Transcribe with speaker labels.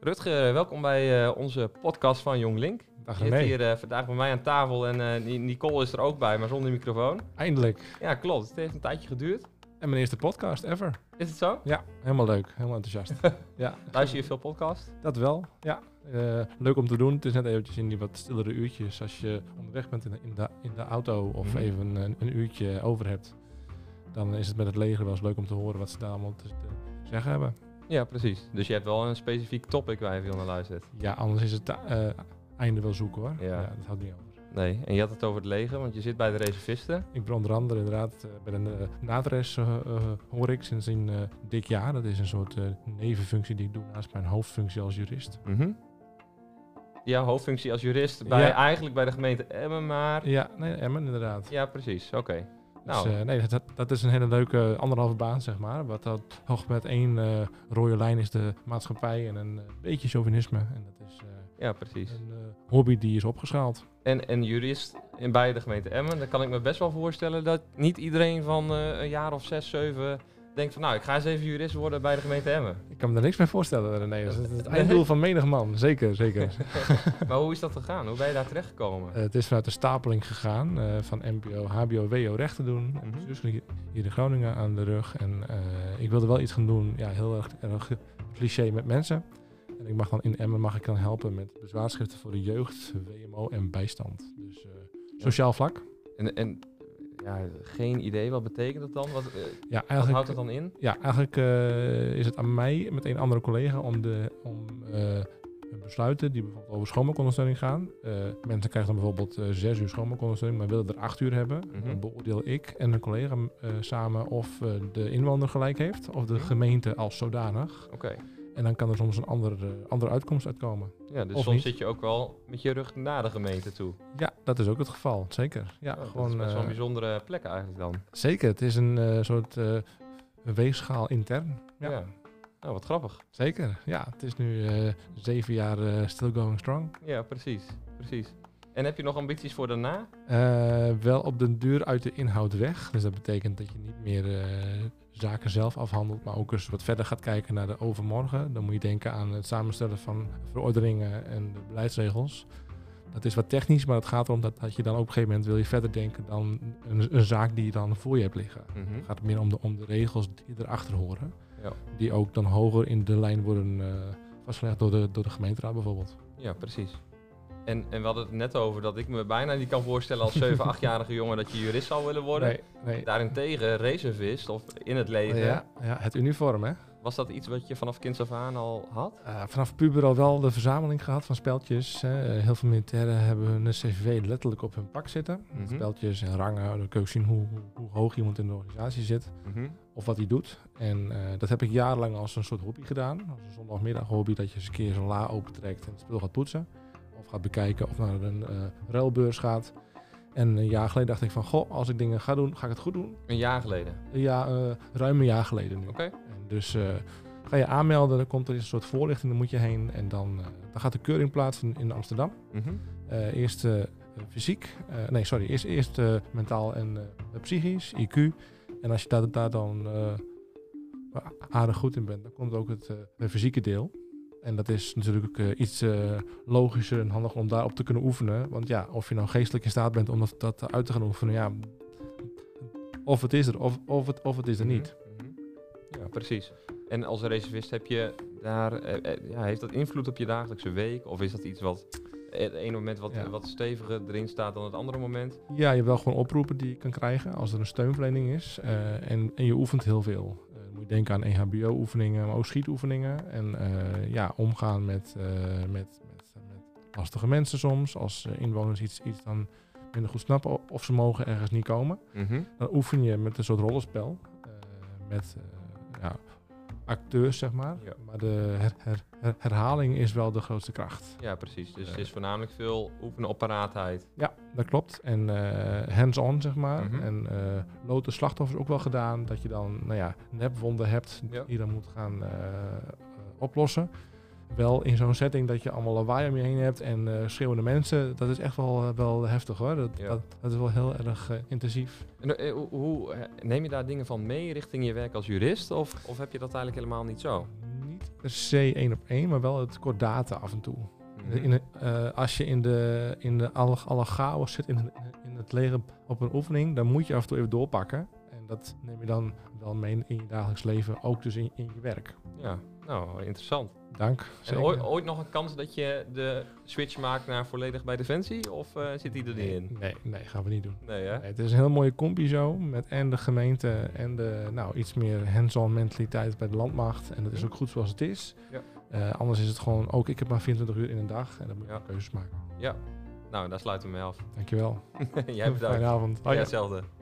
Speaker 1: Rutger, welkom bij eh, onze podcast van Jong Link.
Speaker 2: Dag
Speaker 1: Je zit
Speaker 2: René.
Speaker 1: hier eh, vandaag bij mij aan tafel en eh, Ni- Nicole is er ook bij, maar zonder microfoon.
Speaker 2: Eindelijk.
Speaker 1: Ja, klopt. Het heeft een tijdje geduurd.
Speaker 2: En mijn eerste podcast ever.
Speaker 1: Is het zo?
Speaker 2: Ja, helemaal leuk. Helemaal enthousiast. ja,
Speaker 1: Luister je veel podcast?
Speaker 2: dat wel. Ja. Eh, leuk om te doen. Het is net eventjes in die wat stillere uurtjes als je onderweg bent in de, in de, in de auto of
Speaker 1: Mhm.
Speaker 2: even een, een uurtje over hebt. Dan is het met het leger wel eens leuk om te horen wat ze daar allemaal te, te zeggen hebben.
Speaker 1: Ja, precies. Dus je hebt wel een specifiek topic waar je veel naar luistert.
Speaker 2: Ja, anders is het eh, einde wel zoeken hoor.
Speaker 1: Ja.
Speaker 2: dat houdt niet over.
Speaker 1: Nee, en je had het over het leger, want je zit bij de reservisten.
Speaker 2: Ik ben onder andere inderdaad eh, bij de eh, nadres eh, eh, hoor ik sinds een eh, dik jaar. Dat is een soort eh, nevenfunctie die ik doe naast mijn hoofdfunctie als jurist.
Speaker 1: Mhm. Ja, hoofdfunctie als jurist bij,
Speaker 2: Ja.
Speaker 1: eigenlijk bij de gemeente Emmen, maar...
Speaker 2: Ja, nee, Emmen inderdaad.
Speaker 1: Ja, precies. Oké. Nou.
Speaker 2: Nou. Dus, eh, nee, dat, dat is een hele leuke anderhalve baan, zeg maar. Wat dat hoog met één eh, rode lijn is de maatschappij en een eh, beetje chauvinisme. En dat is eh,
Speaker 1: Ja, precies.
Speaker 2: een eh, hobby die is opgeschaald.
Speaker 1: En, en jurist in bij de gemeente Emmen, dan kan ik me best wel voorstellen dat niet iedereen van eh, een jaar of zes, zeven denkt van nou, ik ga eens even jurist worden bij de gemeente Emmen.
Speaker 2: Ik kan me daar niks bij voorstellen, René. Dat is het
Speaker 1: Nee.
Speaker 2: einddoel van menig man. Zeker, zeker.
Speaker 1: maar hoe is dat gegaan? Hoe ben je daar terechtgekomen?
Speaker 2: Eh, het is vanuit de stapeling gegaan eh, van MBO, HBO, WO recht te doen.
Speaker 1: Mhm.
Speaker 2: En bestuurskunde hier in Groningen aan de rug. En eh, ik wilde wel iets gaan doen, ja, heel erg, erg cliché met mensen. En ik mag dan in Emmen mag ik dan helpen met bezwaarschriften voor de jeugd, WMO en bijstand. Dus eh, sociaal vlak.
Speaker 1: En, en ja, geen idee, wat betekent dat dan? Wat, eh,
Speaker 2: Ja,
Speaker 1: wat
Speaker 2: eigenlijk,
Speaker 1: houdt dat dan in?
Speaker 2: Ja, eigenlijk eh, is het aan mij met een andere collega om, de, om eh, besluiten die bijvoorbeeld over schoonmaakondersteuning gaan. Eh, mensen krijgen dan bijvoorbeeld eh, zes uur schoonmaakondersteuning, maar willen er acht uur hebben.
Speaker 1: Mhm.
Speaker 2: Dan beoordeel ik en een collega eh, samen of eh, de inwoner gelijk heeft of de
Speaker 1: Mhm.
Speaker 2: gemeente als zodanig.
Speaker 1: Oké.
Speaker 2: En dan kan er soms een andere, andere uitkomst uitkomen.
Speaker 1: Ja, dus
Speaker 2: Of
Speaker 1: soms
Speaker 2: niet.
Speaker 1: zit je ook wel met je rug naar de gemeente toe.
Speaker 2: Ja, dat is ook het geval, zeker. Ja,
Speaker 1: Oh, dat
Speaker 2: gewoon,
Speaker 1: is best wel een
Speaker 2: eh,
Speaker 1: bijzondere plek eigenlijk dan.
Speaker 2: zeker, het is een eh, soort eh, weegschaal intern.
Speaker 1: Ja. Nou, wat grappig.
Speaker 2: Zeker, ja. Het is nu eh, zeven jaar eh, still going strong.
Speaker 1: Ja, precies. precies. En heb je nog ambities voor daarna?
Speaker 2: Eh, wel op den duur uit de inhoud weg. Dus dat betekent dat je niet meer eh, zaken zelf afhandelt, maar ook eens wat verder gaat kijken naar de overmorgen. Dan moet je denken aan het samenstellen van verordeningen en de beleidsregels. Dat is wat technisch, maar het gaat erom dat, dat je dan op een gegeven moment wil je verder denken dan een, een zaak die je dan voor je hebt liggen.
Speaker 1: Mhm.
Speaker 2: Het gaat meer om de, om de regels die erachter horen,
Speaker 1: Ja.
Speaker 2: die ook dan hoger in de lijn worden eh, vastgelegd door de, door de gemeenteraad bijvoorbeeld.
Speaker 1: Ja, precies. En, en we hadden het net over dat ik me bijna niet kan voorstellen als 7, 8-jarige jongen dat je jurist zou willen worden.
Speaker 2: Nee, nee.
Speaker 1: Daarentegen, reservist of in het leger,
Speaker 2: Ja, ja, het uniform hè.
Speaker 1: was dat iets wat je vanaf kinds af aan al had?
Speaker 2: Eh, vanaf puber al wel de verzameling gehad van speltjes. hè. Eh, heel veel militairen hebben hun CV letterlijk op hun pak zitten.
Speaker 1: Mhm.
Speaker 2: Speltjes en rangen, dan kun je zien hoe, hoe- hoe hoog iemand in de organisatie zit of wat hij doet. En eh, dat heb ik jarenlang als een soort hobby gedaan. Als een zondagmiddag hobby dat je eens een keer zo'n la opentrekt en het spul gaat poetsen. Of gaat bekijken of naar een eh ruilbeurs gaat. En een jaar geleden dacht ik van, goh, als ik dingen ga doen, ga ik het goed doen.
Speaker 1: Een jaar geleden.
Speaker 2: Ja, eh, ruim een jaar geleden nu.
Speaker 1: Oké.
Speaker 2: En dus eh, ga je aanmelden, dan komt er een soort voorlichting, dan moet je heen. En dan, eh, dan gaat de keuring plaats in, in Amsterdam. Eh, eerst eh, fysiek, eh, nee sorry, eerst, eerst eh, mentaal en eh, psychisch, IQ. En als je daar, daar dan eh, aardig goed in bent, dan komt ook het eh, fysieke deel. En dat is natuurlijk eh, iets eh, logischer en handig om daarop te kunnen oefenen. Want ja, of je nou geestelijk in staat bent om dat, dat uit te gaan oefenen, ja, of het is er, of, of, het, of het is er niet.
Speaker 1: Mhm. Ja, precies. En als reservist heb je daar, eh, eh, ja, heeft dat invloed op je dagelijkse week? Of is dat iets wat eh, het ene moment wat,
Speaker 2: Ja.
Speaker 1: wat steviger erin staat dan het andere moment?
Speaker 2: Ja, je hebt wel gewoon oproepen die je kan krijgen als er een steunverlening is. Eh, en, en je oefent heel veel. Eh, dan moet je denken aan EHBO-oefeningen, maar ook schietoefeningen. En eh, ja, omgaan met, eh, met, met, met lastige mensen soms. Als eh, inwoners iets, iets dan minder goed snappen o- of ze mogen ergens niet komen. Dan oefen je met een soort rollenspel. eh, met eh, ja, acteurs, zeg maar.
Speaker 1: Ja.
Speaker 2: Maar de her- her- her- herhaling is wel de grootste kracht.
Speaker 1: Ja, precies. Dus het
Speaker 2: Eh.
Speaker 1: is voornamelijk veel oefenen op paraatheid.
Speaker 2: Ja, dat klopt. En eh, hands-on, zeg maar.
Speaker 1: Mhm.
Speaker 2: En eh loten slachtoffers ook wel gedaan. Dat je dan, nou ja, nepwonden hebt die
Speaker 1: Ja.
Speaker 2: je dan moet gaan eh, eh, oplossen. Wel in zo'n setting dat je allemaal lawaai om je heen hebt en eh, schreeuwende mensen. Dat is echt wel, eh, wel heftig hoor. Dat,
Speaker 1: Ja.
Speaker 2: dat, dat is wel heel erg eh, intensief.
Speaker 1: En, eh, hoe, hoe, eh, neem je daar dingen van mee richting je werk als jurist? Of, of heb je dat eigenlijk helemaal niet zo?
Speaker 2: Niet C één op één, maar wel het kordate af en toe. In de- eh, als je in de, in de alle, alle chaos zit in, in het leger op een oefening, dan moet je af en toe even doorpakken. En dat neem je dan wel mee in je dagelijks leven, ook dus in, in je werk.
Speaker 1: Ja, nou, interessant.
Speaker 2: Dank.
Speaker 1: En
Speaker 2: zeker.
Speaker 1: ooit, ooit nog een kans dat je de switch maakt naar volledig bij Defensie? Of eh, zit die er niet
Speaker 2: nee,
Speaker 1: in?
Speaker 2: nee, nee, gaan we niet doen.
Speaker 1: Nee, hè?
Speaker 2: Nee, het is een heel mooie combi zo, met en de gemeente en de nou, iets meer hands-on mentaliteit bij de landmacht. En dat is ook goed zoals het is.
Speaker 1: Ja.
Speaker 2: Eh, anders is het gewoon ook, ik heb maar 24 uur in een dag en dan moet je
Speaker 1: Ja.
Speaker 2: keuzes maken.
Speaker 1: Nou, daar sluiten we mee af.
Speaker 2: Dankjewel.
Speaker 1: Jij bedankt.
Speaker 2: Fijne avond.
Speaker 1: Ja,
Speaker 2: Hoi.
Speaker 1: hetzelfde.